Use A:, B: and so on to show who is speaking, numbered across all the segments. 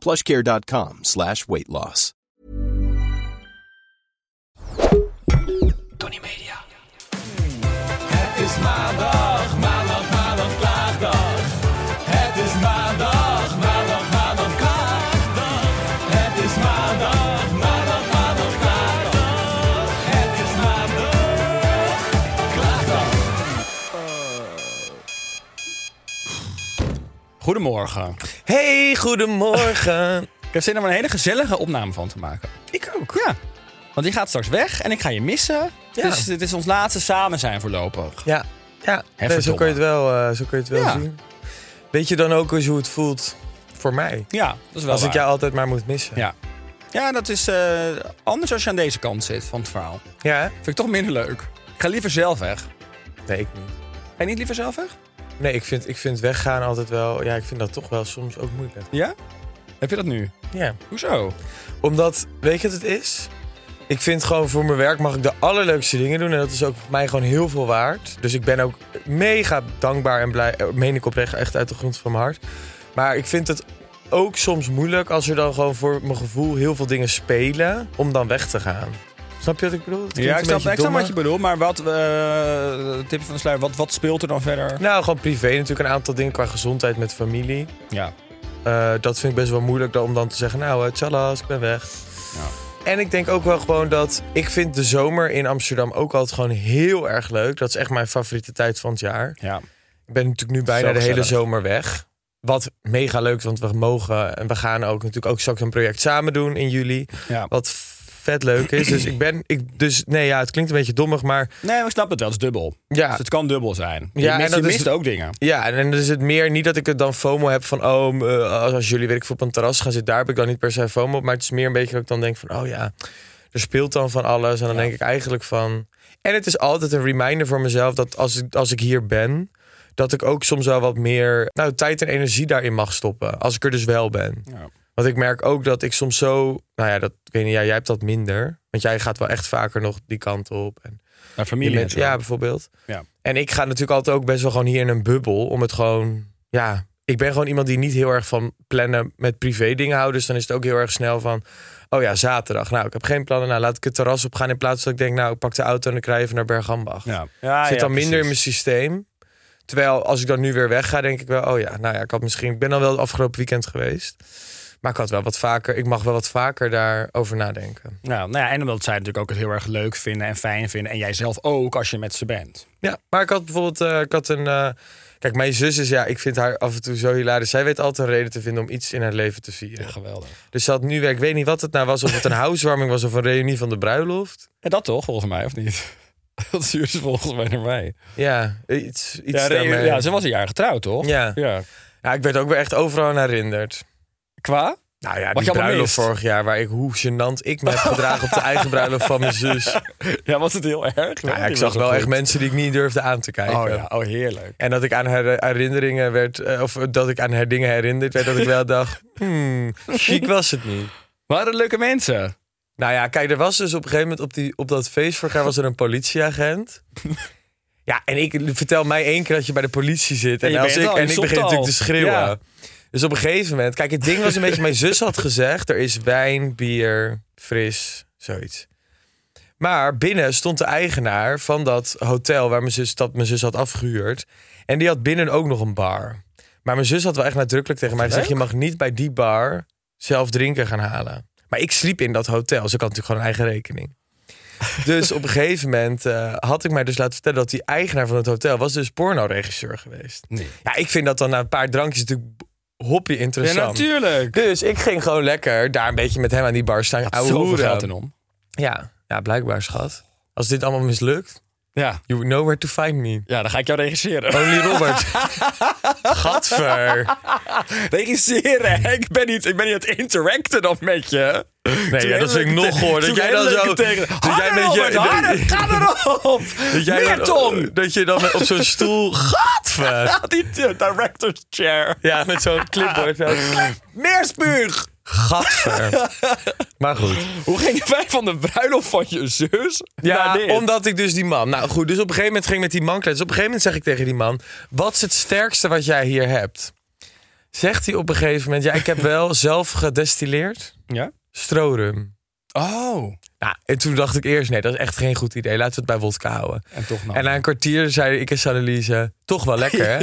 A: plushcare.com slash weight loss.
B: Tony Media.
C: Het is maandag, maandag, maandag, klaagdag. Het is maandag, maandag, maandag, klaagdag. Het is maandag, maandag, maandag, klaagdag. Het is maandag, klaagdag.
B: Goedemorgen.
D: Hey, goedemorgen.
B: Ik heb zin om er een hele gezellige opname van te maken.
D: ik ook.
B: Ja. Want die gaat straks weg en ik ga je missen.
D: Ja.
B: Dus dit is ons laatste samen zijn voorlopig.
D: Ja, ja.
B: Hè,
D: Nee, zo
B: verdomme.
D: kan je het wel, eh, zo kan je het wel
B: Ja.
D: zien. Weet je dan ook eens hoe het voelt voor mij?
B: Ja, dat is wel
D: Als ik
B: waar.
D: jou altijd maar moet missen.
B: Ja. Ja, dat is eh, anders als je aan deze kant zit van het verhaal.
D: Ja, hè?
B: Vind ik toch minder leuk. Ik ga liever zelf weg.
D: Nee, ik niet.
B: Ga je niet liever zelf weg?
D: Nee, ik vind, ik vind weggaan altijd wel... Ja, ik vind dat toch wel soms ook moeilijk.
B: Ja? Heb je dat nu?
D: Ja.
B: Hoezo?
D: Omdat, weet je wat het is? Ik vind gewoon voor mijn werk mag ik de allerleukste dingen doen. En dat is ook mij gewoon heel veel waard. Dus ik ben ook mega dankbaar en blij. eh, Meen ik oprecht echt uit de grond van mijn hart. Maar ik vind het ook soms moeilijk als er dan gewoon voor mijn gevoel heel veel dingen spelen. om dan weg te gaan. Snap je wat ik bedoel? Het klinkt
B: Ja,
D: een
B: ik snap,
D: beetje
B: ik snap
D: dommer.
B: wat je bedoelt, maar wat, eh tip van de sluier, wat, wat speelt er dan verder?
D: Nou, gewoon privé natuurlijk. Een aantal dingen qua gezondheid met familie.
B: Ja.
D: Eh, dat vind ik best wel moeilijk dan, om dan te zeggen, nou, eh tjallas, ik ben weg.
B: Ja.
D: En ik denk ook wel gewoon dat ik vind de zomer in Amsterdam ook altijd gewoon heel erg leuk. Dat is echt mijn favoriete tijd van het jaar.
B: Ja.
D: Ik ben natuurlijk nu bijna
B: Zo
D: de hele
B: gezellig.
D: zomer weg. Wat mega leuk, is, want we mogen en we gaan ook natuurlijk ook straks een project samen doen in juli.
B: ja.
D: Wat vet leuk is. Dus ik ben, ik, dus nee ja, het klinkt een beetje dommig, maar
B: Nee, maar ik snap het wel. Het is dubbel.
D: Ja.
B: Dus het kan dubbel zijn. Je
D: Ja, en
B: mist, je
D: dat is-
B: mist ook dingen.
D: Ja, en dan is het meer niet dat ik het dan FOMO heb van... oh, m, eh, als- als jullie, weet ik veel, op een terras gaan zitten... daar heb ik dan niet per se FOMO op. Maar het is meer een beetje dat ik dan denk van... oh ja, er speelt dan van alles. En dan denk ik eigenlijk van... En het is altijd een reminder voor mezelf dat als ik, als ik hier ben... dat ik ook soms wel wat meer nou, tijd en energie daarin mag stoppen. Als ik er dus wel ben.
B: Ja.
D: Want ik merk ook dat ik soms zo... nou ja, dat, ik weet niet, ja, jij hebt dat minder. Want jij gaat wel echt vaker nog die kant op. En
B: Bij familie. en zo.
D: ja, bijvoorbeeld.
B: Ja.
D: En ik ga natuurlijk altijd ook best wel gewoon hier in een bubbel. Om het gewoon. Ja, ik ben gewoon iemand die niet heel erg van plannen met privé dingen houdt. Dus dan is het ook heel erg snel van. Oh ja, zaterdag. Nou, ik heb geen plannen. Nou, laat ik het terras op gaan. In plaats dat ik denk, nou, ik pak de auto en ik rij even naar Bergambach.
B: Ja. Ah, Ja,
D: Zit
B: ja,
D: dan minder in mijn
B: precies.
D: systeem. Terwijl als ik dan nu weer wegga, denk ik wel, oh ja, nou ja, ik had misschien. Ik ben dan wel het afgelopen weekend geweest. Maar ik had wel wat vaker. Ik mag wel wat vaker daarover nadenken.
B: Nou, nou ja, en omdat zij natuurlijk ook het heel erg leuk vinden en fijn vinden. En jij zelf ook als je met ze bent.
D: Ja, maar ik had bijvoorbeeld, eh, ik had een. eh, kijk, mijn zus is ja, ik vind haar af en toe zo hilarisch. Zij weet altijd een reden te vinden om iets in haar leven te vieren.
B: geweldig.
D: Dus ze had nu weer, ik weet niet wat het nou was, of het een housewarming was of een reunie van de bruiloft.
B: En dat toch, volgens mij, of niet? Dat zuur ze volgens mij naar mij.
D: Ja, iets, iets
B: Ja, re-
D: daarmee.
B: ja, ze was een jaar getrouwd, toch?
D: Ja.
B: ja.
D: Ja, ik werd ook weer echt overal aan herinnerd.
B: Qua? Wat je
D: Nou ja, die
B: allemaal
D: bruiloft
B: mist.
D: vorig jaar, waar ik hoe gênant ik me heb gedragen op de eigen bruiloft van mijn zus.
B: Ja, was het heel erg?
D: Nou
B: Die
D: ja, ik
B: was
D: zag wel
B: goed.
D: echt mensen die ik niet durfde aan te kijken.
B: Oh ja, oh heerlijk.
D: En dat ik aan her herinneringen werd, eh, of dat ik aan her dingen herinnerd werd, dat ik wel dacht, hmm, chic was het niet.
B: Waren leuke mensen?
D: Nou ja, kijk, er was dus op een gegeven moment op, die, op dat feest vorig jaar was er een politieagent. Ja, en ik vertel mij één keer dat je bij de politie zit.
B: En
D: En,
B: je
D: als
B: bent
D: ik,
B: al, je
D: en ik
B: stopt al.
D: begin natuurlijk te schreeuwen.
B: Ja.
D: Dus op een gegeven moment, kijk, het ding was een beetje, mijn zus had gezegd: er is wijn, bier, fris, zoiets. Maar binnen stond de eigenaar van dat hotel waar mijn zus, dat mijn zus had afgehuurd. En die had binnen ook nog een bar. Maar mijn zus had wel echt nadrukkelijk tegen mij gezegd: Je mag niet bij die bar zelf drinken gaan halen. Maar ik sliep in dat hotel, dus ik had natuurlijk gewoon een eigen rekening. Dus op een gegeven moment eh, had ik mij dus laten vertellen dat die eigenaar van het hotel was dus pornoregisseur geweest.
E: Nee.
D: Ja, ik vind dat dan na een paar drankjes natuurlijk hoppie
E: Ja,
D: interessant.
E: natuurlijk.
D: Dus ik ging gewoon lekker daar een beetje met hem aan die bar staan.
E: Gaat
D: ouwe
E: zoveel
D: hoeren.
E: geld in om.
D: Ja, ja, blijkbaar, schat. Als dit allemaal mislukt,
E: Ja.
D: you know where to find me.
E: ja, dan ga ik jou regisseren.
B: Oh.
D: Only Robert. Gadver.
E: regisseren. Ik ben niet, ik ben niet aan het interacten dan met je.
D: Nee, ja, dat vind ik nog hoor. Dat jij dan zo... dat jij met je- dat-
E: ga erop!
D: dat jij dan-
E: Meer tong!
D: Dat je dan met- op zo'n stoel... Gadver.
E: Die eh, director's chair.
D: Ja, met zo'n clipboard. zo.
E: Meer spuug!
D: Gadver. Maar goed.
E: Hoe gingen wij van de bruiloft van je zus naar
D: Ja,
E: dit?
D: omdat ik dus die man... Nou goed, dus op een gegeven moment ging ik met die man kletsen. Dus op een gegeven moment zeg ik tegen die man... Wat is het sterkste wat jij hier hebt? Zegt hij op een gegeven moment... Ja, ik heb wel zelf gedestilleerd
E: Ja?
D: strorum.
E: Oh.
D: Ja, en toen dacht ik eerst, nee, dat is echt geen goed idee. Laten we het bij wodka houden.
E: En toch nou.
D: Oh. En na een kwartier zei ik en Sanelise, toch wel lekker hè?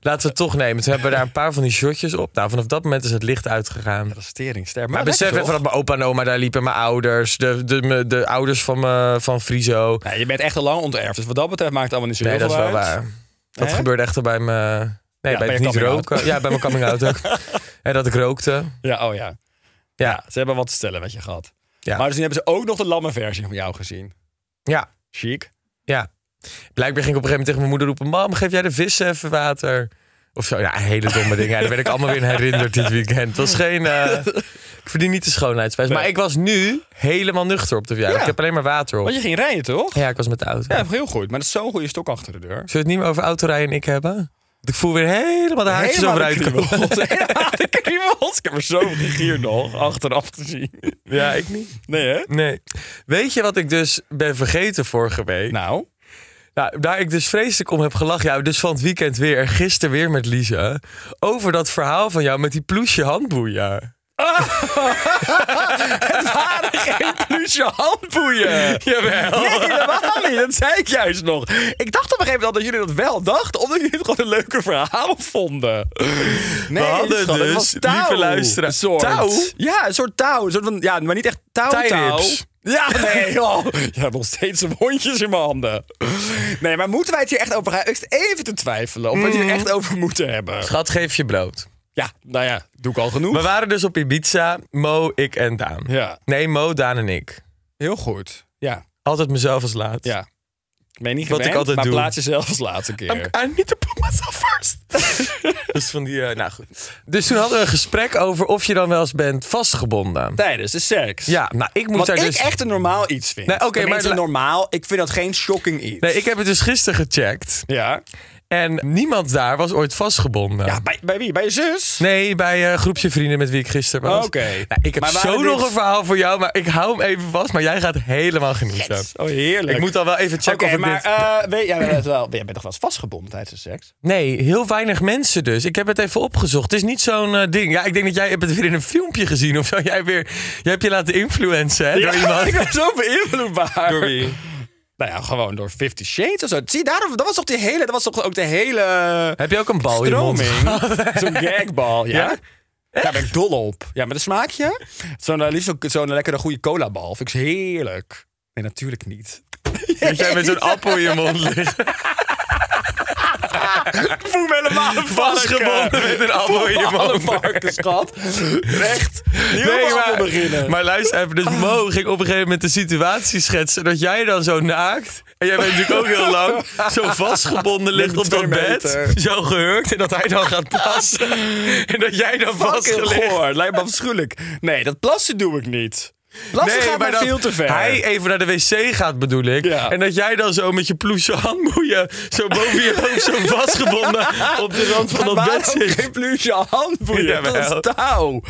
D: Laten we het toch nemen. Toen hebben we daar een paar van die shotjes op. Nou, vanaf dat moment is het licht uitgegaan. Maar,
E: Teringster.
D: Nou, besef
E: lekker,
D: even dat mijn opa en oma daar liepen. Mijn ouders, de, de, de, de ouders van, me, van Frizo.
E: toch? Ja, je bent echt al lang onterfd, dus wat dat betreft maakt het allemaal niet zo
D: Nee,
E: heel
D: dat is
E: veel
D: wel
E: uit.
D: waar. Dat
E: Hè?
D: gebeurde echt bij mijn... Nee,
E: Ja,
D: bij
E: bij
D: het
E: je
D: niet
E: coming out.
D: roken. Ja, bij mijn coming out ook. En dat ik rookte.
E: Ja, oh ja.
D: Ja,
E: Ze hebben wat te stellen met je gehad.
D: Ja.
E: Maar dus nu hebben ze ook nog de lamme versie van jou gezien.
D: ja,
E: Chic.
D: ja. Blijkbaar ging ik op een gegeven moment tegen mijn moeder roepen... Mam, geef jij de vissen even water? Of zo, ja, hele domme dingen. Ja, daar ben ik allemaal weer in herinnerd dit weekend. Het was geen... eh, ik verdien niet de schoonheidsprijs. Maar ik was nu helemaal nuchter op de verjaardag.
E: Ja.
D: Ik heb alleen maar water op.
E: Want je ging rijden, toch?
D: Ja, ik was met de auto.
E: Ja, heel goed. Maar dat is zo'n goede stok achter de deur.
D: Zullen we het niet meer over autorijden en ik hebben? Want ik voel weer helemaal de haartjes overuit komen.
E: Ik heb iemand. Ik heb er zoveel gier nog achteraf gezien.
D: Ja, ik niet.
E: Nee, hè?
D: Nee. Weet je wat ik dus ben vergeten vorige week?
E: Nou,
D: Nou, daar ik dus vreselijk om heb gelachen. Ja, dus van het weekend weer. en Gisteren weer met Lisa. Over dat verhaal van jou met die ploesje handboeien.
E: pluche handboeien.
D: Jawel.
E: Nee, helemaal niet. Dat zei ik juist nog. Ik dacht op een gegeven moment dat jullie dat wel dachten, omdat jullie het gewoon een leuke verhaal vonden. Nee,
D: hadden
E: schat, het
D: dus,
E: was touw.
D: lieve luisteraar-
E: Een soort.
D: Touw?
E: Ja, een soort touw. Een soort van, ja, maar niet echt touw-touw.
D: Tie-rips.
E: Ja, nee, joh. Je hebt nog steeds wondjes in mijn handen. Nee, maar moeten wij het hier echt over gaan? Ik zit even te twijfelen of we het hier echt over moeten hebben.
D: Schat, geef je brood.
E: Ja, nou ja, doe ik al genoeg.
D: We waren dus op Ibiza. Mo, ik en Daan.
E: Ja,
D: Nee, Mo, Daan en ik.
E: heel goed. Ja,
D: Altijd mezelf als laat.
E: ja. Ik ben niet
D: Wat
E: gewend,
D: ik altijd
E: maar
D: doe.
E: plaats jezelf als laatste keer.
D: I need to put myself first. dus van die, eh, nou goed. Dus toen hadden we een gesprek over of je dan wel eens bent vastgebonden.
E: Tijdens de seks.
D: Ja, nou, ik moet
E: Wat
D: daar
E: ik
D: dus...
E: echt een normaal iets vind.
D: Nee, oké,
E: Tenminste,
D: maar la-
E: normaal. Ik vind dat geen shocking iets.
D: Nee, ik heb het dus gisteren gecheckt.
E: Ja.
D: En niemand daar was ooit vastgebonden.
E: Ja, bij, bij wie? Bij je zus?
D: Nee, bij eh, een groepje vrienden met wie ik gisteren was.
E: Oké.
D: Nou, ik heb
E: Maar
D: zo
E: waren dus- dit-
D: nog een verhaal voor jou, maar ik hou hem even vast. Maar jij gaat helemaal genieten.
E: Oh, heerlijk.
D: Ik moet al wel even checken
E: Oké,
D: of ik
E: maar
D: dit-
E: eh, weet, jij bent wel, jij bent toch wel eens vastgebonden tijdens de seks?
D: Nee, heel weinig mensen dus. Ik heb het even opgezocht. Het is niet zo'n eh, ding. Ja, ik denk dat jij hebt het weer in een filmpje gezien of zo. Jij, weer, jij hebt je laten influencen hè, door iemand.
E: ik ben zo beïnvloedbaar.
D: Door wie?
E: Nou ja, gewoon door Fifty Shades of zo. Zie, daarom, dat was toch, die hele, dat was toch ook de hele
D: Heb je ook een bal in je
E: stroming?
D: mond?
E: Oh, Zo'n gagbal, ja?
D: Ja?
E: Daar ben ik dol op. Ja, met een smaakje. Zo'n eh, liefst ook zo'n lekkere goede colabal. Vind ik heerlijk. Nee, natuurlijk niet.
D: Dat jij met zo'n appel in je mond ligt.
E: Ik voel me helemaal eh, een
D: Vastgebonden met een appel in Oh, je mond.
E: varkenschat. Echt. Niet nee, maar, beginnen.
D: maar luister even, dus Mo ging op een gegeven moment de situatie schetsen dat jij dan zo naakt, en jij bent natuurlijk ook heel lang, zo vastgebonden ligt op
E: twee
D: dat bed,
E: meter.
D: zo gehurkt, en dat hij dan gaat plassen. en dat jij dan
E: Fucking
D: vastgelegd...
E: goor. Lijkt me afschuwelijk. Nee, dat plassen doe ik niet. Plassen gaat
D: maar
E: maar
D: dat
E: veel te ver.
D: hij even naar de wc gaat, bedoel ik.
E: Ja.
D: En dat jij dan zo met je ploesje handboeien... zo boven je hoofd, zo vastgebonden op de rand van dat
E: Waarom
D: bed zit.
E: geen pluche handboeien?
D: Jawel.
E: dat is touw.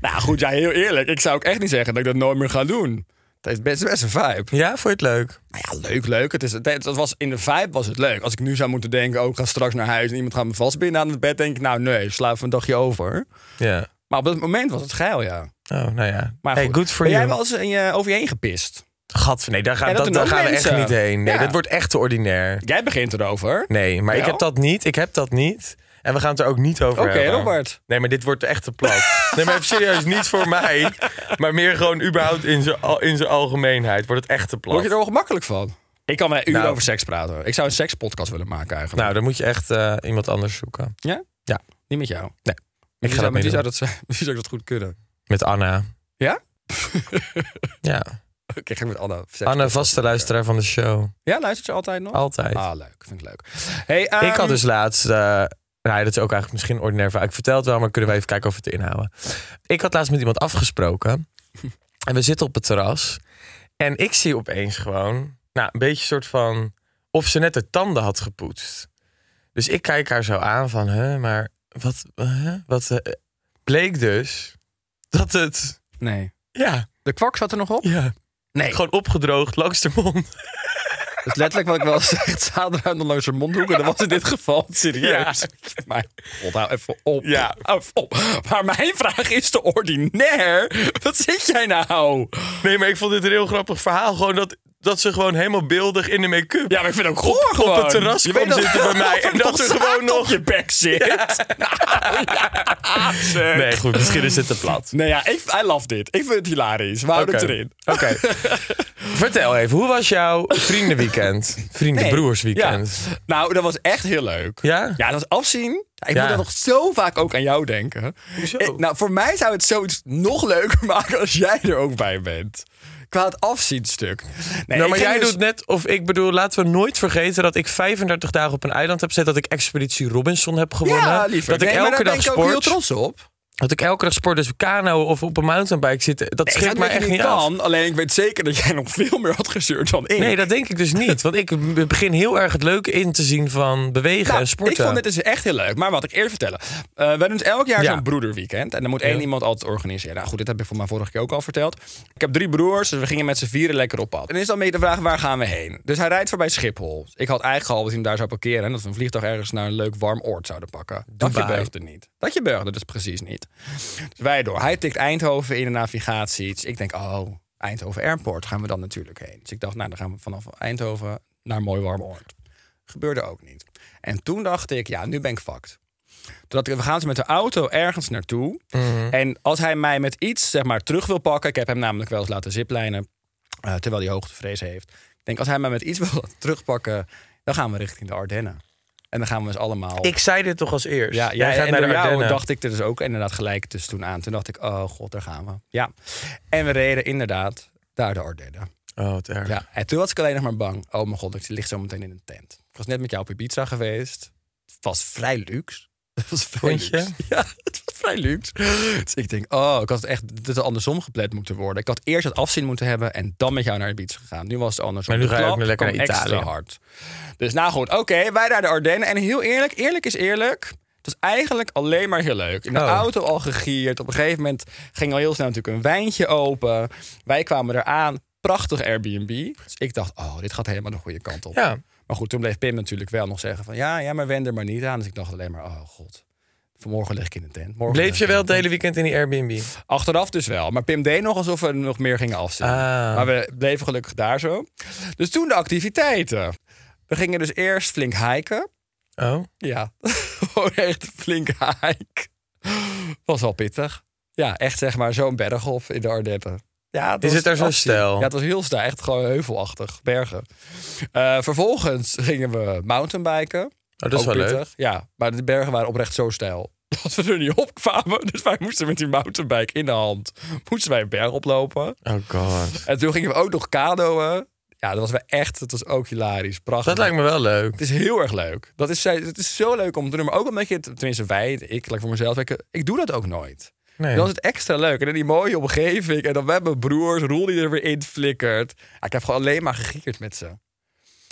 E: Nou goed, ja, heel eerlijk. Ik zou ook echt niet zeggen dat ik dat nooit meer ga doen. Het is best, best een vibe.
D: Ja, vond je het leuk?
E: Nou ja, leuk, leuk. Het is, het, het was, in de vibe was het leuk. Als ik nu zou moeten denken, oh, ik ga straks naar huis... en iemand gaat me vastbinden aan het bed... denk ik, nou nee, slaap een dagje over.
D: Ja.
E: Maar op dat moment was het geil, ja.
D: Oh, nou ja.
E: Maar
D: hey,
E: goed.
D: good for
E: ben
D: you.
E: jij wel eens in je, over je heen gepist?
D: Gadver, nee, daar, gaan-
E: Ja, dat
D: dat,
E: doen
D: daar
E: ook
D: gaan we echt
E: mensen.
D: niet heen. Nee,
E: Ja.
D: dat wordt echt te ordinair.
E: Jij begint erover.
D: Nee, maar ik
E: Wel?
D: heb dat niet. Ik heb dat niet. En we gaan het er ook niet over
E: Oké,
D: hebben.
E: Robert.
D: Nee, maar dit wordt echt te plat. nee, maar even serieus, niet voor mij. Maar meer gewoon überhaupt in zijn al- in zijn algemeenheid wordt het echt te plat.
E: Word je er ongemakkelijk van? Ik kan mij uren
D: Nou.
E: over seks praten. hoor. Ik zou een sekspodcast willen maken eigenlijk.
D: Nou, dan moet je echt eh, iemand anders zoeken.
E: ja?
D: Ja.
E: Niet met jou.
D: Nee,
E: Wie
D: ik ga
E: zou-
D: dat
E: met
D: niet
E: wie zou
D: doen.
E: dat, zijn? Wie zou dat goed kunnen?
D: Met Anna.
E: Ja?
D: Ja.
E: Oké, ga ik met Anna. seks-
D: Anna, vaste luisteraar van de show.
E: Ja, luistert je altijd nog?
D: Altijd.
E: Ah, leuk. Vind ik leuk. Hey, ehm,
D: Ik had dus laatst. eh nou ja, dat is ook eigenlijk misschien ordinair. verhaal. Ik vertel het wel, maar kunnen we even kijken of we het inhouden. Ik had laatst met iemand afgesproken. En we zitten op het terras. En ik zie opeens gewoon. Nou, een beetje soort van. Of ze net de tanden had gepoetst. Dus ik kijk haar zo aan van. Hè, maar wat. hè, wat eh, bleek dus. Dat het.
E: Nee.
D: Ja,
E: De kwak zat er nog op?
D: ja.
E: Nee.
D: Gewoon opgedroogd langs de mond.
E: Dat is letterlijk wat ik wel zeg. Zadelruim dan langs haar mondhoeken. Dat was in dit geval serieus. Maar god,
D: nou
E: hou even op.
D: Ja.
E: Hou even op. Maar mijn vraag is te ordinair. Wat zit jij nou?
D: Nee, maar ik vond dit een heel grappig verhaal. Gewoon dat, dat ze gewoon helemaal beeldig in de make-up.
E: Ja, maar ik vind het ook goor gewoon.
D: op het terras
E: Je
D: kwam
E: weet
D: zitten bij mij
E: of
D: en dat er
E: zaad
D: gewoon nog-
E: op je bek zit. Nou, ja, zeg.
D: Nee, goed, misschien is het te plat.
E: Nee, ja, ik, I love dit. Ik vind het hilarisch. We houden
D: Oké.
E: het erin.
D: Oké. Vertel even, hoe was jouw vriendenweekend? Vriendenbroersweekend.
E: Ja. Nou, dat was echt heel leuk.
D: Ja?
E: Ja, dat is afzien. Ja, Ik
D: Ja.
E: moet dan nog zo vaak ook aan jou denken. Ik- nou, voor mij zou het zoiets nog leuker maken als jij er ook bij bent. Qua het afzienstuk. Nee,
D: Nou,
E: ik
D: maar
E: ging
D: jij
E: dus-
D: doet net, of ik bedoel, laten we nooit vergeten dat ik 35 dagen op een eiland heb gezet. Dat ik Expeditie Robinson heb gewonnen.
E: Ja, liever.
D: Dat ik
E: Nee, maar
D: elke
E: daar
D: dag
E: ben ik ook heel
D: sport.
E: trots op.
D: Dat ik elke dag sport, dus kano of op een mountainbike zit. Dat
E: Nee,
D: schiet
E: gaat
D: mij
E: dat je
D: echt niet af.
E: kan. Alleen ik weet zeker dat jij nog veel meer had gezeurd dan ik.
D: Nee, dat denk ik dus niet. Want ik begin heel erg het leuke in te zien van bewegen
E: Nou,
D: en sporten.
E: Ik vond dit dus echt heel leuk. Maar wat ik eerst vertellen. Eh, we doen dus elk jaar
D: Ja.
E: zo'n broederweekend. En dan moet één iemand altijd organiseren. Nou goed, dit heb ik voor mij vorige keer ook al verteld. Ik heb drie broers, dus we gingen met z'n vieren lekker op pad. En is dan mee de vraag, waar gaan we heen? Dus hij rijdt voorbij Schiphol. Ik had eigenlijk al dat hij hem daar zou parkeren. En dat we een vliegtuig ergens naar een leuk warm oord zouden pakken. Dat je
D: Dubai.
E: beugde niet. Dat je beugde dus precies niet. Dus wij door. Hij tikt Eindhoven in de navigatie. Dus ik denk, oh, Eindhoven Airport gaan we dan natuurlijk heen. Dus ik dacht, nou dan gaan we vanaf Eindhoven naar een mooi warm oord. Gebeurde ook niet. En toen dacht ik, ja, nu ben ik fucked. Toen dacht ik, we gaan dus met de auto ergens naartoe.
D: Mhm.
E: En als hij mij met iets, zeg maar, terug wil pakken... Ik heb hem namelijk wel eens laten ziplijnen, eh, terwijl hij hoogtevrees heeft. Ik denk, als hij mij met iets wil terugpakken, dan gaan we richting de Ardennen. En dan gaan we dus allemaal...
D: Ik zei dit toch als eerst?
E: Ja, ja
D: Jij gaat
E: en
D: naar de
E: door jou
D: Ardennen.
E: dacht ik er dus ook inderdaad gelijk dus toen aan. Toen dacht ik, oh god, daar gaan we. Ja. En we reden inderdaad naar de Ardennen.
D: Oh, wat erg.
E: Ja. En toen was ik alleen nog maar bang. Oh mijn god, ik lig zo meteen in een tent. Ik was net met jou op Ibiza geweest. Het was vrij luxe. Het was vrij
D: Vond je?
E: luxe. Ja, het was vrij luxe. Dus ik denk, oh, ik had het echt dit had andersom gepland moeten worden. Ik had eerst het afzien moeten hebben en dan met jou naar Ibiza gegaan. Nu was het andersom.
D: Maar nu
E: De
D: ga je ook
E: klap
D: weer lekker
E: kwam
D: naar Italië.
E: extra hard. Dus nou goed, oké, wij naar de Ardennen. En heel eerlijk, eerlijk is eerlijk. Het was eigenlijk alleen maar heel leuk. In de
D: Oh.
E: auto al gegierd. Op een gegeven moment ging al heel snel natuurlijk een wijntje open. Wij kwamen eraan. Prachtig Airbnb. Dus ik dacht, oh, dit gaat helemaal de goede kant op.
D: Ja.
E: Maar goed, toen bleef Pim natuurlijk wel nog zeggen van... ja, ja, maar wend er maar niet aan. Dus ik dacht alleen maar, oh god. Vanmorgen lig ik in de tent. Morgen lig
D: Bleef
E: ik
D: je
E: in
D: wel
E: de
D: het hele weekend in die Airbnb?
E: Achteraf dus wel. Maar Pim deed nog alsof we nog meer gingen afzien.
D: Ah.
E: Maar we bleven gelukkig daar zo. Dus toen de activiteiten. We gingen dus eerst flink hiken.
D: Oh.
E: Ja, gewoon echt een flink hike. Was wel pittig. Ja, echt zeg maar zo'n berg op in de Ardennen. Ja, dat
D: Is
E: was
D: het daar zo
E: afzien.
D: steil?
E: Ja, het was heel steil. Echt gewoon heuvelachtig. Bergen. Eh, vervolgens gingen we mountainbiken.
D: Oh, dat is
E: Ook
D: wel leuk.
E: pittig. Ja, maar de bergen waren oprecht zo steil dat we er niet op kwamen. Dus wij moesten met die mountainbike in de hand... moesten wij een berg oplopen.
D: Oh god.
E: En toen gingen we ook nog kanoën. Ja, dat was wel echt... Dat was ook hilarisch. Prachtig.
D: Dat lijkt me wel leuk.
E: Het is heel erg leuk. Dat is, het is zo leuk om te doen. Maar ook omdat je het, tenminste wij, ik, like voor mezelf, ik, ik doe dat ook nooit.
D: Nee.
E: Dan is het extra leuk. En in die mooie omgeving. En dan met mijn broers, Roel die er weer in flikkert. Ja, ik heb gewoon alleen maar gegierd met ze.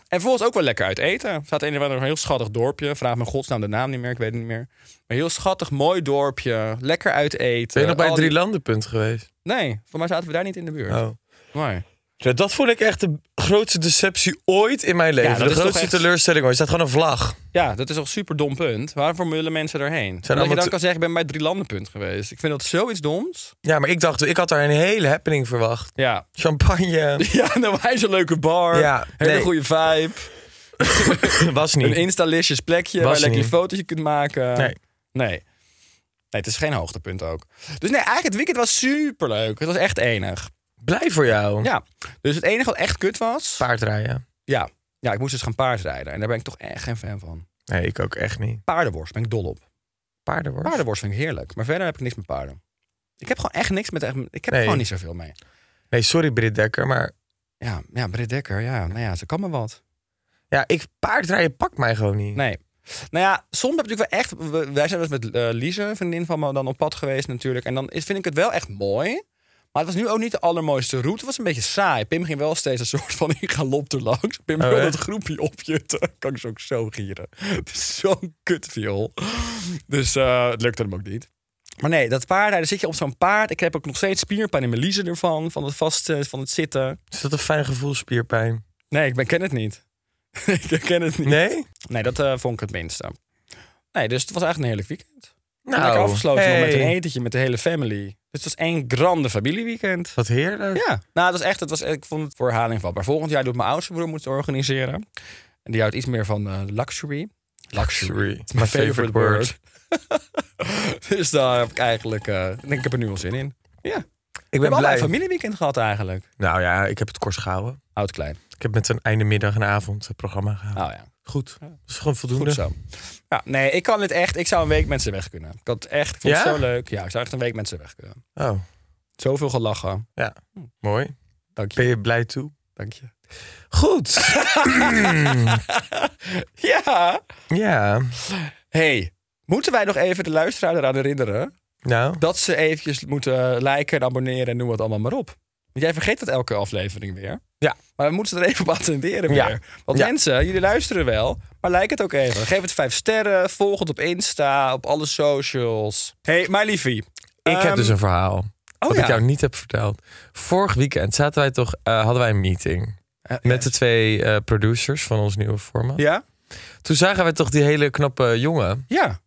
E: En volgens ook wel lekker uit eten. Er staat een, of ander- een heel schattig dorpje. Vraag me godsnaam de naam niet meer, ik weet het niet meer. Maar heel schattig, mooi dorpje. Lekker uit eten.
D: Ben je nog bij
E: Al
D: het
E: die-
D: Drielandenpunt geweest?
E: Nee, voor mij zaten we daar niet in de buurt.
D: Oh.
E: Maar...
D: Ja, dat vond ik echt de grootste deceptie ooit in mijn leven.
E: dat
D: de
E: is toch
D: grootste
E: echt-
D: teleurstelling ooit. Er staat gewoon een vlag.
E: Ja, dat is toch een super dom punt. Waarvoor mullen mensen daarheen? Omdat je
D: allemaal
E: dan
D: te-
E: kan zeggen, ik ben bij het drielandenpunt geweest. Ik vind dat zoiets doms.
D: Ja, maar ik dacht, ik had daar een hele happening verwacht.
E: Ja.
D: Champagne.
E: Ja, nou, hij is een leuke bar.
D: Ja,
E: hele
D: nee.
E: goede vibe.
D: was niet.
E: Een Insta-listjes plekje
D: Was
E: waar je lekker je
D: niet.
E: foto's kunt maken.
D: Nee.
E: nee. Nee, het is geen hoogtepunt ook. Dus nee, eigenlijk het weekend was superleuk. Het was echt enig.
D: Blij voor jou.
E: Ja, dus het enige wat echt kut was...
D: Paardrijden.
E: Ja. ja, ik moest dus gaan paardrijden. En daar ben ik toch echt geen fan van.
D: Nee, ik ook echt niet.
E: Paardenworst ben ik dol op.
D: Paardenworst.
E: Paardenworst vind ik heerlijk. Maar verder heb ik niks met paarden. Ik heb gewoon echt niks met... Ik heb er
D: Nee.
E: gewoon niet zoveel mee.
D: Nee, sorry Britt Dekker, maar
E: Ja, ja Britt Dekker, ja. Nou ja, ze kan me wat.
D: ja, ik, paardrijden pakt mij gewoon niet.
E: Nee. Nou ja, soms heb ik natuurlijk wel echt. we- Wij zijn dus met eh Lise, een vriendin van me, dan op pad geweest natuurlijk. En dan is, vind ik het wel echt mooi. Maar het was nu ook niet de allermooiste route. Het was een beetje saai. Pim ging wel steeds een soort van ik ga lop er langs. Pim
D: Oh,
E: wil
D: hè?
E: dat groepje opjutten. Kan ik ze ook zo gieren. Het is zo'n kutviool. Dus eh, het lukte hem ook niet. Maar nee, dat paardrijden zit je op zo'n paard. Ik heb ook nog steeds spierpijn in mijn liezen ervan. Van het vasten, van het zitten.
D: Is dat een fijn gevoel, spierpijn?
E: Nee, ik ben, ken het niet. ik herken het niet.
D: Nee?
E: Nee, dat eh, vond ik het minste. Nee, dus het was echt een heerlijk weekend. Nou,
D: Nou,
E: Lekker afgesloten nog met een
D: hey.
E: etentje met de hele family. Dus het was één grande familieweekend.
D: Wat heerlijk.
E: Ja, nou, het was echt, het was, ik vond het voor herhaling vatbaar. Volgend jaar doet mijn oudste broer moeten organiseren. En die houdt iets meer van eh, luxury.
D: Luxury.
E: It's my favorite word. dus daar heb ik eigenlijk, eh, ik denk ik heb er nu wel zin in. Ja, ik
D: Ik
E: ben
D: ben
E: we hebben
D: blij.
E: een familieweekend gehad eigenlijk.
D: Nou ja, ik heb het kort gehouden.
E: Oud-klein.
D: Ik heb met een einde middag en avond het programma gehaald.
E: Nou ja.
D: Goed. Dat is gewoon voldoende.
E: Goed zo. Ja, nee, ik kan dit echt. Ik zou een week mensen weg kunnen. Ik had het echt. Ik vond het
D: Ja?
E: zo leuk. Ja, ik zou echt een week mensen weg kunnen.
D: Oh,
E: Zoveel gelachen.
D: ja.
E: Hm.
D: Mooi.
E: Dank je.
D: Ben je blij toe?
E: Dank je.
D: Goed.
E: Ja.
D: ja.
E: Hey, moeten wij nog even de luisteraar eraan herinneren
D: Nou,
E: dat ze eventjes moeten liken en abonneren en noem het allemaal maar op? Want jij vergeet dat elke aflevering weer.
D: Ja.
E: Maar we moeten er even op attenderen weer.
D: Ja.
E: Want
D: Ja.
E: mensen, jullie luisteren wel, maar like het ook even. Geef het vijf sterren, volg het op Insta, op alle socials. Hey, mijn liefie.
D: ik heb
E: Ehm,
D: dus een verhaal. wat
E: ja.
D: ik jou niet heb verteld. Vorig weekend zaten wij toch, eh, hadden wij een meeting. Met de twee eh, producers van ons nieuwe format.
E: Ja?
D: Toen zagen wij toch die hele knappe jongen.
E: Ja.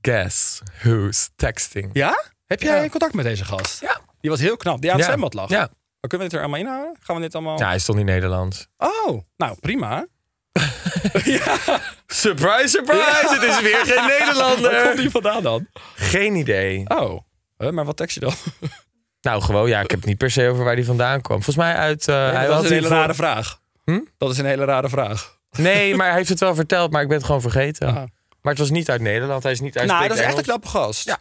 D: Guess who's texting.
E: Ja? Heb jij
D: Ja.
E: contact met deze gast?
D: Ja.
E: Die was heel knap. Die aan het zwembad lag. Oh.
D: Ja.
E: Maar kunnen we dit er allemaal inhouden? Gaan we dit allemaal...
D: ja, hij stond in Nederlands.
E: Oh, nou prima.
D: Surprise, surprise! Het is weer geen
E: Waar komt
D: Nederlander!
E: die vandaan dan?
D: Geen idee.
E: Oh, Huh, maar wat tekst je dan?
D: Nou, gewoon, ja, ik heb het niet per se over waar die vandaan kwam. Volgens mij uit... eh, hij
E: dat
D: had
E: is een hele
D: hiervoor-
E: rare vraag.
D: Hm?
E: Dat is een hele rare vraag.
D: Nee, maar hij heeft het wel verteld, maar ik ben het gewoon vergeten.
E: Ah.
D: Maar het was niet uit Nederland. Hij is niet uit
E: nou, dat is echt een knappe gast. Ja.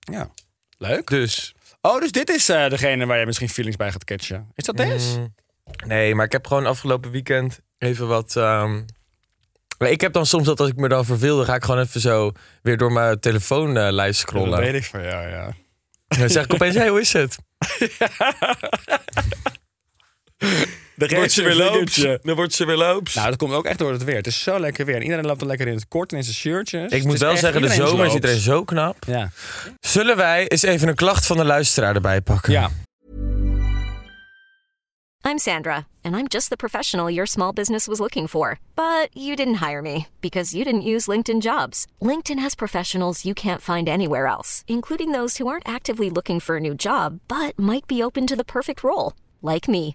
E: ja. Leuk.
D: Dus...
E: Oh, dus dit is eh, degene waar je misschien feelings bij gaat catchen. Is dat deze?
D: Mm, Nee, maar ik heb gewoon afgelopen weekend even wat. ehm, maar ik heb dan soms dat als ik me dan verveel, dan ga ik gewoon even zo weer door mijn telefoonlijst
E: dat
D: scrollen.
E: weet ik van jou, ja.
D: Dan zeg ik opeens, hey, hoe is het?
E: Dan
D: Dan wordt ze weer loops.
E: Nou, dat komt ook echt door het weer. Het is zo lekker weer. En iedereen loopt dan lekker in het kort en in zijn shirtjes.
D: ik
E: Het
D: moet
E: is
D: wel
E: echt-
D: zeggen, de
E: iedereen
D: zomer is
E: loopt.
D: iedereen zo knap.
E: Ja.
D: Zullen wij eens even een klacht van de luisteraar erbij pakken?
E: ja.
F: I'm Sandra, and I'm just the professional your small business was looking for. But you didn't hire me because you didn't use LinkedIn jobs. LinkedIn has professionals you can't find anywhere else, including those who aren't actively looking for a new job but might be open to the perfect role, like me.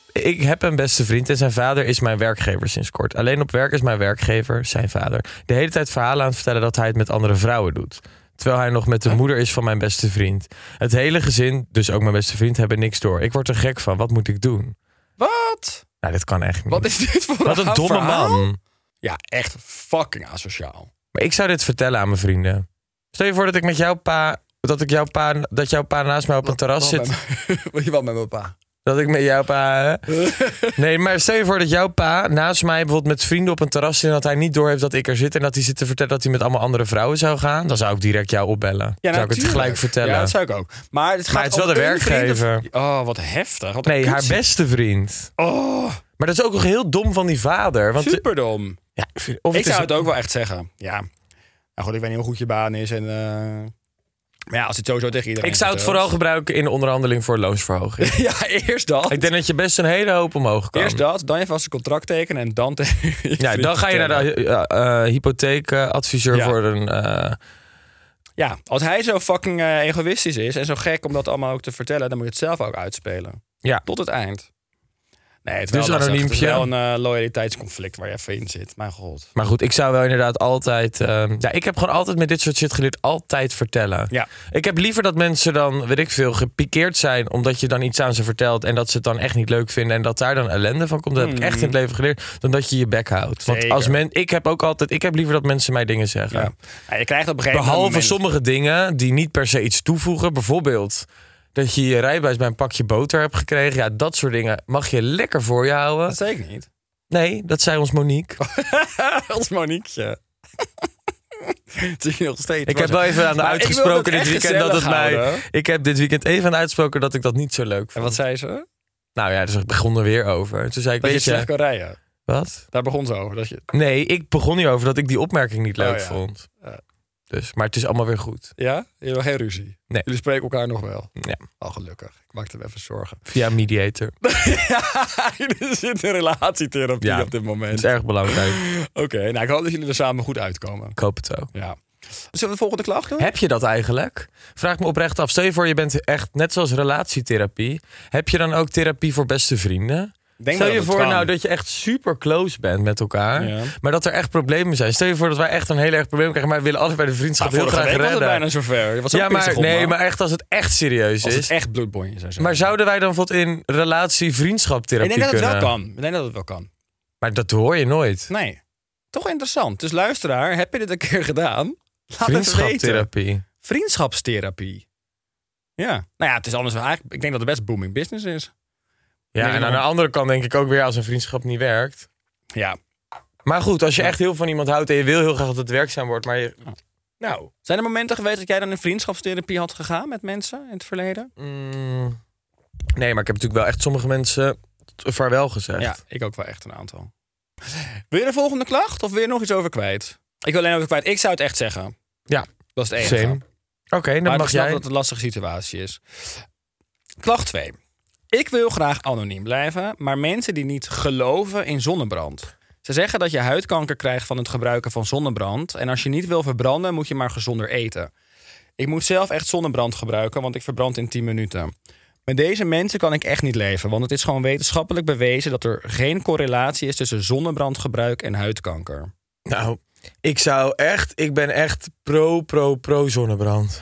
D: ik heb een beste vriend en zijn vader is mijn werkgever sinds kort. Alleen op werk is mijn werkgever, zijn vader, de hele tijd verhalen aan het vertellen dat hij het met andere vrouwen doet. Terwijl hij nog met de moeder is van mijn beste vriend. Het hele gezin, dus ook mijn beste vriend, hebben niks door. Ik word er gek van. Wat moet ik doen?
E: Wat?
D: Nou, dit kan echt niet.
E: Wat is dit voor
D: Wat een domme
E: verhaal?
D: man.
E: Ja, echt fucking asociaal.
D: Maar ik zou dit vertellen aan mijn vrienden. Stel je voor dat ik met jouw pa, dat ik jouw pa, dat jouw pa naast mij op een terras
E: Wel
D: zit.
E: bij me- Wil je wel met mijn pa?
D: Dat ik met jouw pa. hè? Nee, maar stel je voor dat jouw pa naast mij bijvoorbeeld met vrienden op een terras zit. en dat hij niet doorheeft dat ik er zit. en dat hij zit te vertellen dat hij met allemaal andere vrouwen zou gaan. dan zou ik direct jou opbellen.
E: Ja,
D: zou ik het
E: natuurlijk.
D: gelijk vertellen.
E: Ja, dat zou ik ook. Maar het, gaat
D: het is wel
E: om
D: de
E: een vriend of-
D: werkgever.
E: Oh, wat heftig. Wat een
D: Nee, haar
E: kutzie-
D: beste vriend.
E: Oh,
D: Maar dat is ook nog heel dom van die vader. Want
E: superdom.
D: Ja, ik vind- of
E: Ik
D: is
E: zou het ook wel echt zeggen. Ja. Nou goed, ik weet niet hoe goed je baan is en... eh, Maar ja, als het sowieso tegen iedereen
D: Ik zou het
E: vertelt.
D: vooral gebruiken in de onderhandeling voor loonsverhoging.
E: Ja, eerst dat.
D: ik denk dat je best een hele hoop omhoog kan.
E: Eerst dat, dan je vast een contract tekenen en dan tegen je
D: ja,
E: vrienden
D: dan ga je naar
E: vertellen.
D: de eh, eh, hypotheekadviseur
E: Ja.
D: voor een... eh,
E: Ja, als hij zo fucking eh, egoïstisch is en zo gek om dat allemaal ook te vertellen, dan moet je het zelf ook uitspelen.
D: ja.
E: Tot het eind. Nee, het is
D: Dus
E: wel, lastig. Het is
D: anoniempje.
E: wel een eh, loyaliteitsconflict waar je even in zit. Mijn god.
D: Maar goed, ik zou wel inderdaad altijd... ehm, ja, ik heb gewoon altijd met dit soort shit geleerd, altijd vertellen.
E: Ja.
D: Ik heb liever dat mensen dan, weet ik veel, gepikeerd zijn... omdat je dan iets aan ze vertelt en dat ze het dan echt niet leuk vinden... en dat daar dan ellende van komt. Dat heb ik echt in het leven geleerd, dan dat je je bek houdt. Want
E: Hmm. Zeker.
D: als men, ik heb ook altijd... Ik heb liever dat mensen mij dingen zeggen.
E: Ja. Ja, je krijgt op een gegeven
D: Behalve
E: moment...
D: sommige dingen die niet per se iets toevoegen. Bijvoorbeeld dat je je rijbewijs bij een pakje boter hebt gekregen. Ja, dat soort dingen mag je lekker voor je houden.
E: Dat zei ik niet.
D: Nee, dat zei ons Monique.
E: Ons Moniqueje. Zie je nog steeds.
D: Ik heb wel even aan de
E: Maar ik wil
D: uitgesproken
E: dat
D: dit
E: echt
D: weekend dat het
E: gezellig
D: mij.
E: houden.
D: Ik heb dit weekend even aan uitgesproken dat ik dat niet zo leuk
E: En
D: vond.
E: wat zei ze?
D: Nou ja, dus ik begon er weer over. Toen zei ik,
E: Dat je
D: weet je,
E: slecht kan rijden.
D: wat?
E: Daar begon ze over. Dat je...
D: Nee, ik begon hier over dat ik die opmerking niet
E: Oh
D: leuk
E: ja.
D: vond.
E: Ja.
D: Dus, maar het is allemaal weer goed.
E: Ja? Jullie hebben geen ruzie.
D: Nee.
E: Jullie spreken elkaar nog wel.
D: Ja.
E: Al gelukkig. Ik maakte me even zorgen.
D: Via een mediator.
E: ja, jullie zitten in relatietherapie
D: Ja.
E: op dit
D: Dat
E: moment.
D: is erg belangrijk.
E: Oké, nou ik hoop dat jullie er samen goed uitkomen.
D: Ik hoop het ook.
E: Ja. Zullen we de volgende klacht doen?
D: Heb je dat eigenlijk? Vraag me oprecht af. Stel je voor, je bent echt net zoals relatietherapie. Heb je dan ook therapie voor beste vrienden?
E: Denk
D: Stel
E: dat
D: je
E: het
D: voor
E: kan.
D: nou dat je echt super close bent met elkaar,
E: Ja.
D: maar dat er echt problemen zijn. Stel je voor dat wij echt een heel erg probleem krijgen, maar we willen allebei de vriendschap
E: Nou,
D: heel
E: vorige
D: graag
E: week was
D: redden.
E: het bijna zover. Je was ook
D: ja, maar
E: pissig om,
D: nee,
E: man.
D: maar echt als het echt serieus
E: Als
D: is.
E: het echt bloedbonjes en zo.
D: Maar zouden wij dan bijvoorbeeld in relatie
E: Ik
D: vriendschaptherapie
E: denk dat het
D: kunnen?
E: wel kan. Ik denk dat het wel kan. Nou,
D: Maar dat hoor je nooit.
E: Nee. Toch interessant. Dus luisteraar, heb je dit een keer gedaan? Laat het weten.
D: Vriendschaptherapie.
E: Vriendschapstherapie. Ja. Nou ja, het is anders. wel eigenlijk- Ik denk dat het best booming business is.
D: Ja,
E: Nee,
D: en aan de
E: maar-
D: andere kant denk ik ook weer als een vriendschap niet werkt.
E: Ja.
D: Maar goed, als je echt heel van iemand houdt en je wil heel graag dat het werkzaam wordt, maar je... Nou,
E: Zijn er momenten geweest dat jij dan in vriendschapstherapie had gegaan met mensen in het verleden?
D: mm, nee, maar ik heb natuurlijk wel echt sommige mensen t- vaarwel gezegd.
E: Ja, ik ook wel echt een aantal. Wil je de volgende klacht of wil je nog iets over kwijt? Ik wil alleen over kwijt. Ik zou het echt zeggen.
D: Ja,
E: Dat is het enige.
D: same. Oké, dan
E: maar
D: mag
E: ik snap
D: jij.
E: dat het een lastige situatie is. Klacht 2. Ik wil graag anoniem blijven, maar mensen die niet geloven in zonnebrand. Ze zeggen dat je huidkanker krijgt van het gebruiken van zonnebrand. En als je niet wil verbranden, moet je maar gezonder eten. Ik moet zelf echt zonnebrand gebruiken, want ik verbrand in 10 minuten. Met deze mensen kan ik echt niet leven, want het is gewoon wetenschappelijk bewezen dat er geen correlatie is tussen zonnebrandgebruik en huidkanker.
D: Nou, ik zou echt, ik ben echt pro, pro, pro zonnebrand.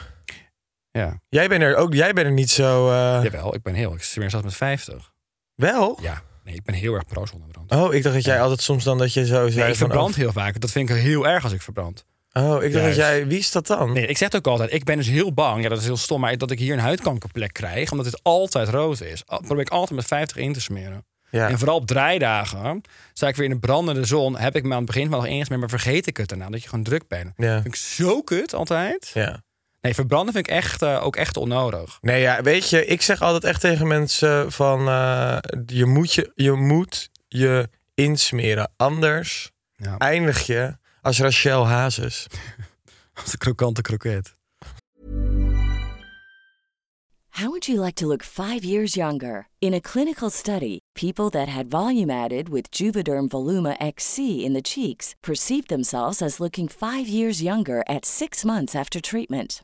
E: Ja,
D: Jij bent er ook, jij bent er niet zo. eh,
E: jawel, ik ben heel, ik zit zelfs met 50.
D: Wel?
E: Ja, nee, ik ben heel erg pro zonnebrand.
D: Oh, ik dacht dat jij altijd soms dan dat je zo zei
E: Nee, ik
D: van,
E: verbrand heel vaak. Dat vind ik heel erg als ik verbrand.
D: Oh, oh, ik dacht dat
E: Juist.
D: jij, wie is dat dan?
E: Nee, ik zeg het ook altijd. Ik ben dus heel bang. Ja, dat is heel stom. Maar dat ik hier een huidkankerplek krijg. Omdat het altijd rood is. Al- Probeer ik altijd met 50 in te smeren.
D: Ja.
E: En vooral op draaidagen. Sta ik weer in de brandende zon. Heb ik me aan het begin wel nog eens meer. Maar vergeet ik het daarna. Dat je gewoon druk bent.
D: Ja.
E: Vind ik zo kut altijd.
D: ja.
E: Nee, verbranden vind ik echt, eh, ook echt onnodig.
D: Nee, ja, weet je, ik zeg altijd echt tegen mensen van eh, je, moet je, je moet je insmeren. Anders
E: Ja.
D: eindig je als Rachel Hazes.
E: De krokante kroket.
G: How would you like to look five years younger? In a clinical study, people that had volume added with Juvederm Voluma XC in the cheeks perceived themselves as looking five years younger at six months after treatment.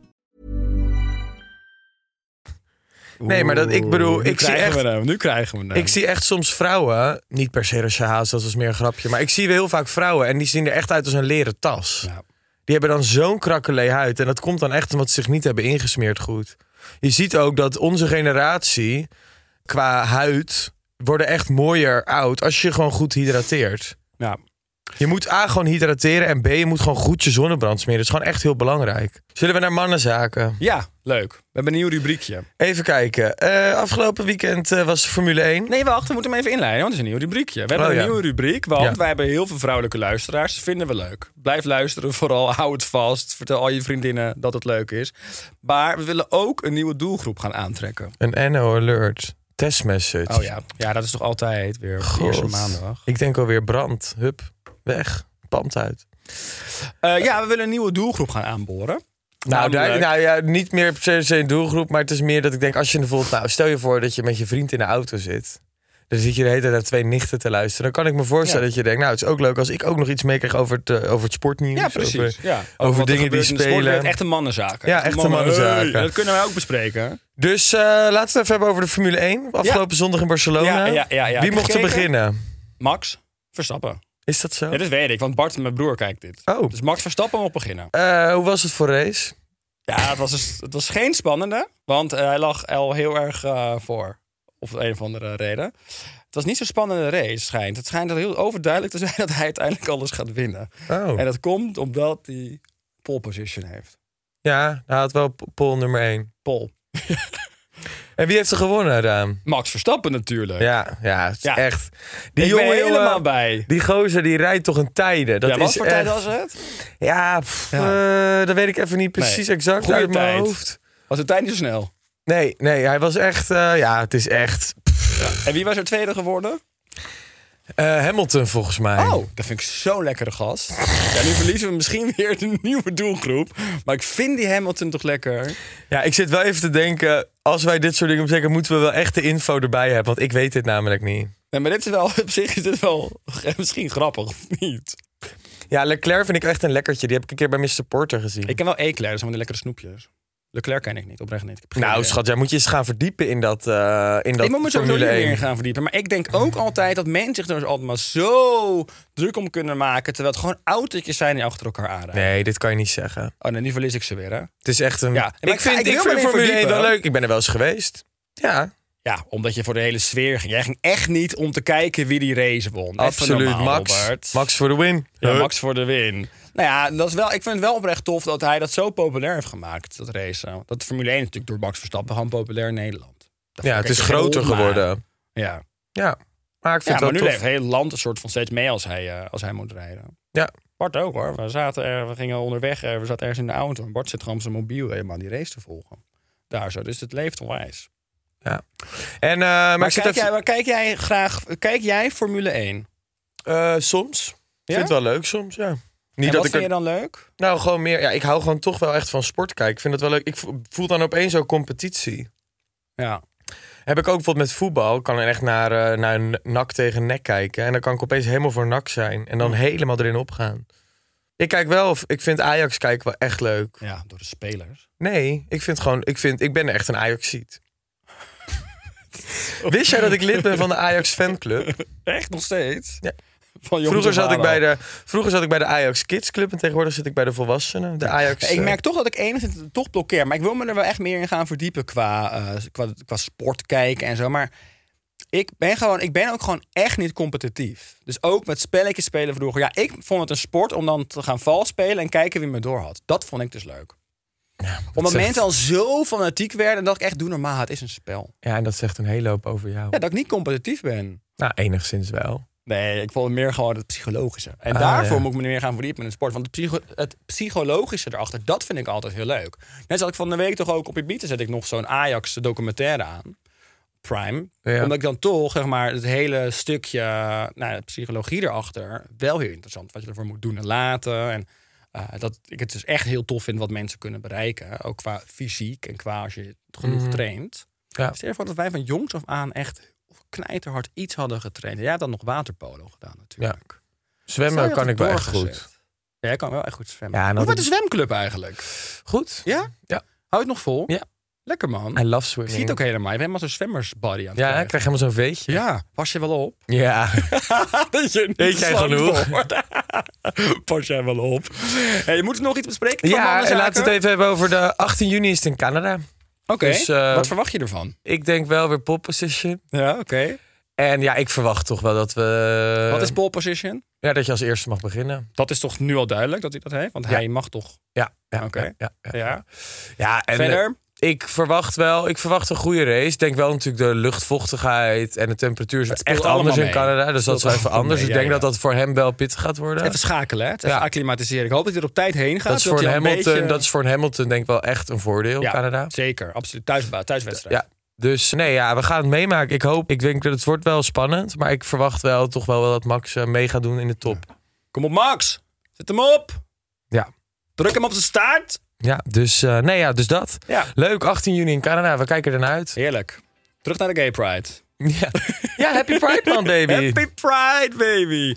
D: Nee, maar dat, ik bedoel,
E: Oeh, nu
D: ik zie,
E: krijgen
D: echt,
E: we hem, nu krijgen we hem.
D: ik zie echt soms vrouwen, niet per se Rasha Haas, dat is meer een grapje, maar ik zie heel vaak vrouwen en die zien er echt uit als een leren tas.
E: Ja.
D: Die hebben dan zo'n krakkelee huid en dat komt dan echt omdat ze zich niet hebben ingesmeerd goed. Je ziet ook dat onze generatie qua huid worden echt mooier oud als je gewoon goed hydrateert.
E: Ja.
D: Je moet A gewoon hydrateren en B je moet gewoon goed je zonnebrand smeren. Dat is gewoon echt heel belangrijk. Zullen we naar mannenzaken?
E: ja, leuk. We hebben een nieuw rubriekje.
D: Even kijken. Eh, afgelopen weekend eh, was Formule 1.
E: Nee, wacht, we moeten hem even inleiden, want het is een nieuw rubriekje. We hebben
D: Oh,
E: een
D: ja.
E: nieuwe rubriek, want
D: Ja.
E: wij hebben heel veel vrouwelijke luisteraars. Vinden we leuk. Blijf luisteren, vooral hou het vast. Vertel al je vriendinnen dat het leuk is. Maar we willen ook een nieuwe doelgroep gaan aantrekken.
D: Een NO alert. Testmessage.
E: Oh ja, ja dat is toch altijd weer op de
D: God.
E: eerste maandag.
D: Ik denk alweer brand. Hup. Weg. Pand uit.
E: Eh, ja, we willen een nieuwe doelgroep gaan aanboren.
D: Nou,
E: Namelijk-
D: daar, nou ja, niet meer per se een doelgroep, maar het is meer dat ik denk, als je bijvoorbeeld, nou, stel je voor dat je met je vriend in de auto zit. Dan zit je de hele tijd naar twee nichten te luisteren. Dan kan ik me voorstellen
E: Ja.
D: dat je denkt, nou, het is ook leuk als ik ook nog iets meekrijg over het, eh, over het sportnieuws.
E: Ja, precies.
D: Over,
E: ja.
D: over
E: wat er
D: dingen die
E: gebeurt in de sport,
D: spelen.
E: het Echte mannenzaken.
D: Ja, echte mannenzaken.
E: Hey, dat kunnen wij ook bespreken.
D: Dus eh, laten we het even hebben over de Formule 1. Afgelopen zondag in
E: Ja,
D: Barcelona.
E: ja, ja, ja.
D: Wie
E: Heb je
D: mocht er
E: gekeken?
D: beginnen?
E: Max Verstappen.
D: Is dat zo?
E: Ja, dus- dat weet ik, want Bart, mijn broer, kijkt dit.
D: Oh.
E: Dus Max Verstappen mag beginnen.
D: Eh, hoe was het voor race?
E: Ja, het was, dus- het was geen spannende, want eh, hij lag al heel erg eh, voor. Of een of andere reden. Het was niet zo'n spannende race, schijnt. Het schijnt heel overduidelijk te zijn dat hij uiteindelijk alles gaat winnen.
D: Oh.
E: En dat komt omdat hij pole position heeft.
D: Ja, hij had wel p- pole nummer 1.
E: Pole.
D: En wie heeft er gewonnen, Raam?
E: Max Verstappen natuurlijk.
D: Ja, ja, het is
E: Ja.
D: echt.
E: Die
D: Die
E: ik
D: jongen,
E: ben helemaal
D: jongen,
E: bij.
D: Die gozer die rijdt toch een tijden. Dat
E: ja, wat
D: is
E: voor
D: echt,
E: tijd was het?
D: Ja, pff, eh, dat weet ik even niet precies
E: Nee.
D: exact
E: Goeie
D: uit mijn
E: tijd.
D: hoofd.
E: Was het tijd niet zo snel?
D: Nee, nee, hij was echt. eh, ja, het is echt.
E: En wie was er tweede geworden?
D: eh, Hamilton volgens mij.
E: Oh, dat vind ik zo'n lekkere gast. Ja, nu verliezen we misschien weer de nieuwe doelgroep. Maar ik vind die Hamilton toch lekker.
D: Ja, ik zit wel even te denken. Als wij dit soort dingen zeggen, moeten we wel echt de info erbij hebben. Want ik weet dit namelijk niet.
E: Nee, maar dit is wel, op zich is dit wel misschien grappig, of niet?
D: Ja, Leclerc vind ik echt een lekkertje. Die heb ik een keer bij Mr. Porter gezien.
E: Ik ken wel Eclair, dat zijn van die lekkere snoepjes. Leclerc ken ik niet, oprecht niet. Ik heb geen
D: nou,
E: idee.
D: schat, jij moet je eens gaan verdiepen in dat. eh in dat
E: Ik moet me sowieso
D: Formule
E: niet
D: 1.
E: meer in gaan verdiepen. Maar ik denk ook altijd dat mensen zich er dus altijd maar zo druk om kunnen maken. Terwijl het gewoon autootjes zijn die achter elkaar aanrijden.
D: Nee, dit kan je niet zeggen.
E: Oh, nee, nu verlies ik ze weer, hè?
D: Het is echt een.
E: Ja, maar
D: ik,
E: ik ga-
D: vind,
E: ik
D: ik,
E: wil me
D: vind
E: erin
D: Formule 1 wel
E: verdiepen.
D: leuk. Ik ben er wel eens geweest. Ja,
E: Ja, omdat je voor de hele sfeer ging. Jij ging echt niet om te kijken wie die race won. Even
D: absoluut.
E: normaal,
D: Max.
E: Robert.
D: Max voor de win.
E: Ja,
D: Huh?
E: Max voor de win. Nou ja, dat is wel, ik vind het wel oprecht tof dat hij dat zo populair heeft gemaakt, dat race. Dat de Formule 1 is natuurlijk door Max Verstappen gewoon populair in Nederland. Dat
D: Ja,
E: vind
D: het
E: ik
D: is
E: echt geen
D: groter
E: onmaat.
D: geworden.
E: Ja,
D: Ja, maar
E: ja
D: ik vind
E: maar
D: het
E: nu
D: wel
E: leeft het
D: tof.
E: hele land een soort van steeds mee als hij, eh, als hij moet rijden.
D: Ja.
E: Bart ook hoor. We zaten er, we gingen onderweg, eh, we zaten ergens in de auto. En Bart zit gewoon op zijn mobiel helemaal die race te volgen. Daar zo, dus het leeft onwijs.
D: En, eh, maar
E: Maar,
D: ik zit
E: kijk,
D: even-
E: jij, maar kijk jij graag, kijk jij Formule 1?
D: Eh, soms. Ik
E: Ja?
D: vind het wel leuk soms, ja. Niet
E: en
D: dat
E: wat
D: ik
E: vind
D: er-
E: je dan leuk?
D: Nou, gewoon meer. Ja, ik hou gewoon toch wel echt van sport kijken. Ik vind het wel leuk. Ik vo- voel dan opeens zo'n competitie.
E: Ja.
D: Heb ik ook bijvoorbeeld met voetbal. Ik kan echt naar, eh, naar een nak tegen nek kijken. En dan kan ik opeens helemaal voor nak zijn. En dan helemaal erin opgaan. Ik kijk wel, ik vind Ajax kijken wel echt leuk.
E: ja, door de spelers.
D: Nee, ik vind gewoon, ik, vind, ik ben echt een Ajaxiet. Wist jij dat ik lid ben van de Ajax fanclub?
E: Echt nog steeds?
D: Ja.
E: Van jongens
D: Vroeger
E: af
D: zat,
E: aan
D: ik bij
E: al.
D: de, vroeger zat ik bij de Ajax Kids Club en tegenwoordig zit ik bij de volwassenen. De Ajax.
E: Ik
D: eh,
E: merk toch dat ik enigszins het toch blokkeer. Maar ik wil me er wel echt meer in gaan verdiepen qua, eh, qua, qua sport kijken en zo. Maar ik ben, gewoon, ik ben ook gewoon echt niet competitief. Dus ook met spelletjes spelen vroeger. Ja, ik vond het een sport om dan te gaan vals spelen en kijken wie me door had. Dat vond ik dus leuk. Omdat
D: zegt-
E: mensen al zo fanatiek werden dat ik echt doe normaal. Het is een spel.
D: Ja, en dat zegt een hele hoop over jou.
E: Ja, dat ik niet competitief ben.
D: Nou, enigszins wel.
E: Nee, ik vond het meer gewoon het psychologische. En
D: Ah,
E: daarvoor
D: ja.
E: moet ik me meer gaan verdiepen in de sport. Want het, psycho- het psychologische erachter, dat vind ik altijd heel leuk. Net zat ik van de week toch ook op Ibiza, zet ik nog zo'n Ajax documentaire aan. Prime.
D: Ja.
E: Omdat ik dan toch, zeg maar, het hele stukje nou, ja, psychologie erachter wel heel interessant. Wat je ervoor moet doen en laten. En eh, dat ik het dus echt heel tof vind wat mensen kunnen bereiken. Ook qua fysiek en qua als je het genoeg
D: Mhm.
E: traint.
D: Ja.
E: Stel je voor dat wij van jongs af aan echt knijterhard iets hadden getraind. Jij had dan nog waterpolo gedaan natuurlijk. Stel
D: Zwemmen
E: je
D: kan
E: had
D: ik wel echt
E: doorgezet.
D: goed.
E: Ja, jij kan wel echt goed zwemmen.
D: Ja, en
E: Hoe
D: dat
E: wordt de zwemclub eigenlijk?
D: Goed.
E: Ja?
D: Ja.
E: Hou het nog vol?
D: Ja.
E: Lekker man.
D: I love
E: Ik
D: swimming.
E: zie het ook helemaal. Je bent helemaal zo'n zwemmersbody aan het
D: Ja,
E: krijgen.
D: ik krijg helemaal zo'n veetje.
E: Ja, pas je wel op.
D: Ja.
E: dat je niet
D: Weet jij
E: slank
D: genoeg?
E: wordt. pas jij wel op. Hey, je moet er nog iets bespreken. van
D: Ja, en
E: mannenzaken?
D: laten we het even hebben over de 18 juni is het in Canada.
E: Oké,
D: dus, eh,
E: wat verwacht je ervan?
D: Ik denk wel weer pole position.
E: Ja, oké.
D: En ja, ik verwacht toch wel dat we...
E: wat is pole position?
D: Ja, dat je als eerste mag beginnen.
E: Dat is toch nu al duidelijk dat hij dat heeft? Want hij mag toch...
D: Ja. ja
E: Oké.
D: Ja, ja, ja.
E: Ja.
D: Ja, en
E: Verder?
D: eh, ik verwacht wel, ik verwacht een goede race. Ik denk wel natuurlijk de luchtvochtigheid en de temperatuur is
E: speelt
D: echt anders
E: allemaal
D: in
E: mee.
D: Canada. Dus dat is wel even
E: allemaal
D: anders.
E: mee,
D: ik
E: ja,
D: denk
E: ja.
D: dat dat voor hem wel pittig gaat worden.
E: Even schakelen, hè? Het is
D: Ja.
E: Even acclimatiseren. Ik hoop dat hij er op tijd heen gaat.
D: dat, is voor
E: hij
D: een
E: al een
D: Hamilton,
E: beetje-
D: dat is voor een Hamilton denk ik wel echt een voordeel,
E: Ja,
D: Canada.
E: Zeker, absoluut. Thuisba thuiswedstrijd.
D: Ja. Dus nee, ja, we gaan het meemaken. Ik hoop, ik denk dat het wordt wel spannend. Maar ik verwacht wel toch wel dat Max eh, mee gaat doen in de top.
E: Kom op, Max. Zet hem op.
D: Ja,
E: Druk hem op zijn staart.
D: ja dus, eh, nee, ja, dus dat.
E: Ja.
D: Leuk, 18 juni in Canada. We kijken ernaar uit.
E: Heerlijk. Terug naar de Gay Pride.
D: Ja, ja happy Pride man, baby.
E: Happy Pride, baby.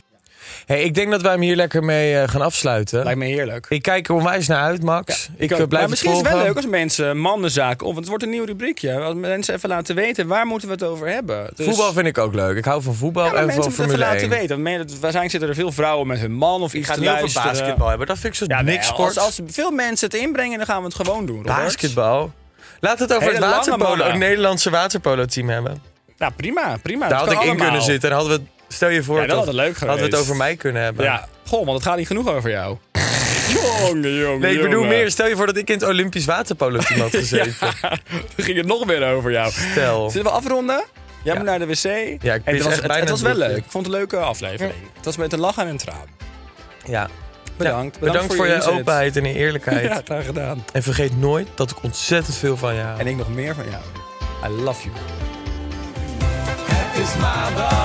D: Hey, ik denk dat wij hem hier lekker mee eh, gaan afsluiten.
E: Lijkt me heerlijk.
D: Ik kijk er onwijs naar uit, Max. ik eh,
E: ook.
D: blijf
E: maar misschien
D: het
E: is het wel leuk
D: volgen.
E: als mensen mannenzaken op. Want het wordt een nieuw rubriekje. Als mensen even laten weten waar moeten we het over hebben. Dus-
D: Voetbal vind ik ook leuk. Ik hou van voetbal
E: Ja, maar
D: en
E: mensen
D: van
E: moeten het even
D: Formule 1.
E: laten weten. Want men- Waarschijnlijk zitten er veel vrouwen met hun man of iets
D: Ik ga
E: te
D: het niet over
E: luisteren.
D: basketbal hebben. Dat vind ik zo'n
E: Ja, nee,
D: niks sport.
E: als, als veel mensen het inbrengen, dan gaan we het gewoon doen. Robert.
D: Basketbal. Laat het over
E: Hele
D: het
E: lange
D: waterpolo,
E: mannen.
D: het Nederlandse waterpolo-team hebben.
E: Nou, prima, prima. Dat
D: Daar had ik
E: kan
D: in
E: allemaal.
D: kunnen zitten. En hadden we, het- stel je voor,
E: Ja, dat
D: toch-
E: had het leuk
D: hadden we het
E: geweest.
D: over mij kunnen hebben.
E: Ja, goh, want het gaat niet genoeg over jou. jongen, jongen,
D: Nee, ik bedoel
E: jongen.
D: meer. Stel je voor dat ik in het Olympisch waterpolo-team had gezeten.
E: Dan ging het nog meer over jou.
D: Stel.
E: Zullen we afronden? Jij moet naar de wc. Ja,
D: ik
E: het
D: pis
E: was,
D: echt
E: het,
D: bijna
E: het was
D: een
E: wel
D: broekje.
E: leuk. Ik vond het een leuke aflevering. Het was met een lach en een traan.
D: Ja.
E: Bedankt.
D: Bedankt, voor je,
E: inzet.
D: openheid en je eerlijkheid.
E: Ja, daar gedaan.
D: En vergeet nooit dat ik ontzettend veel van je hou.
E: En ik nog meer van jou. I love you.
C: Het is maandag.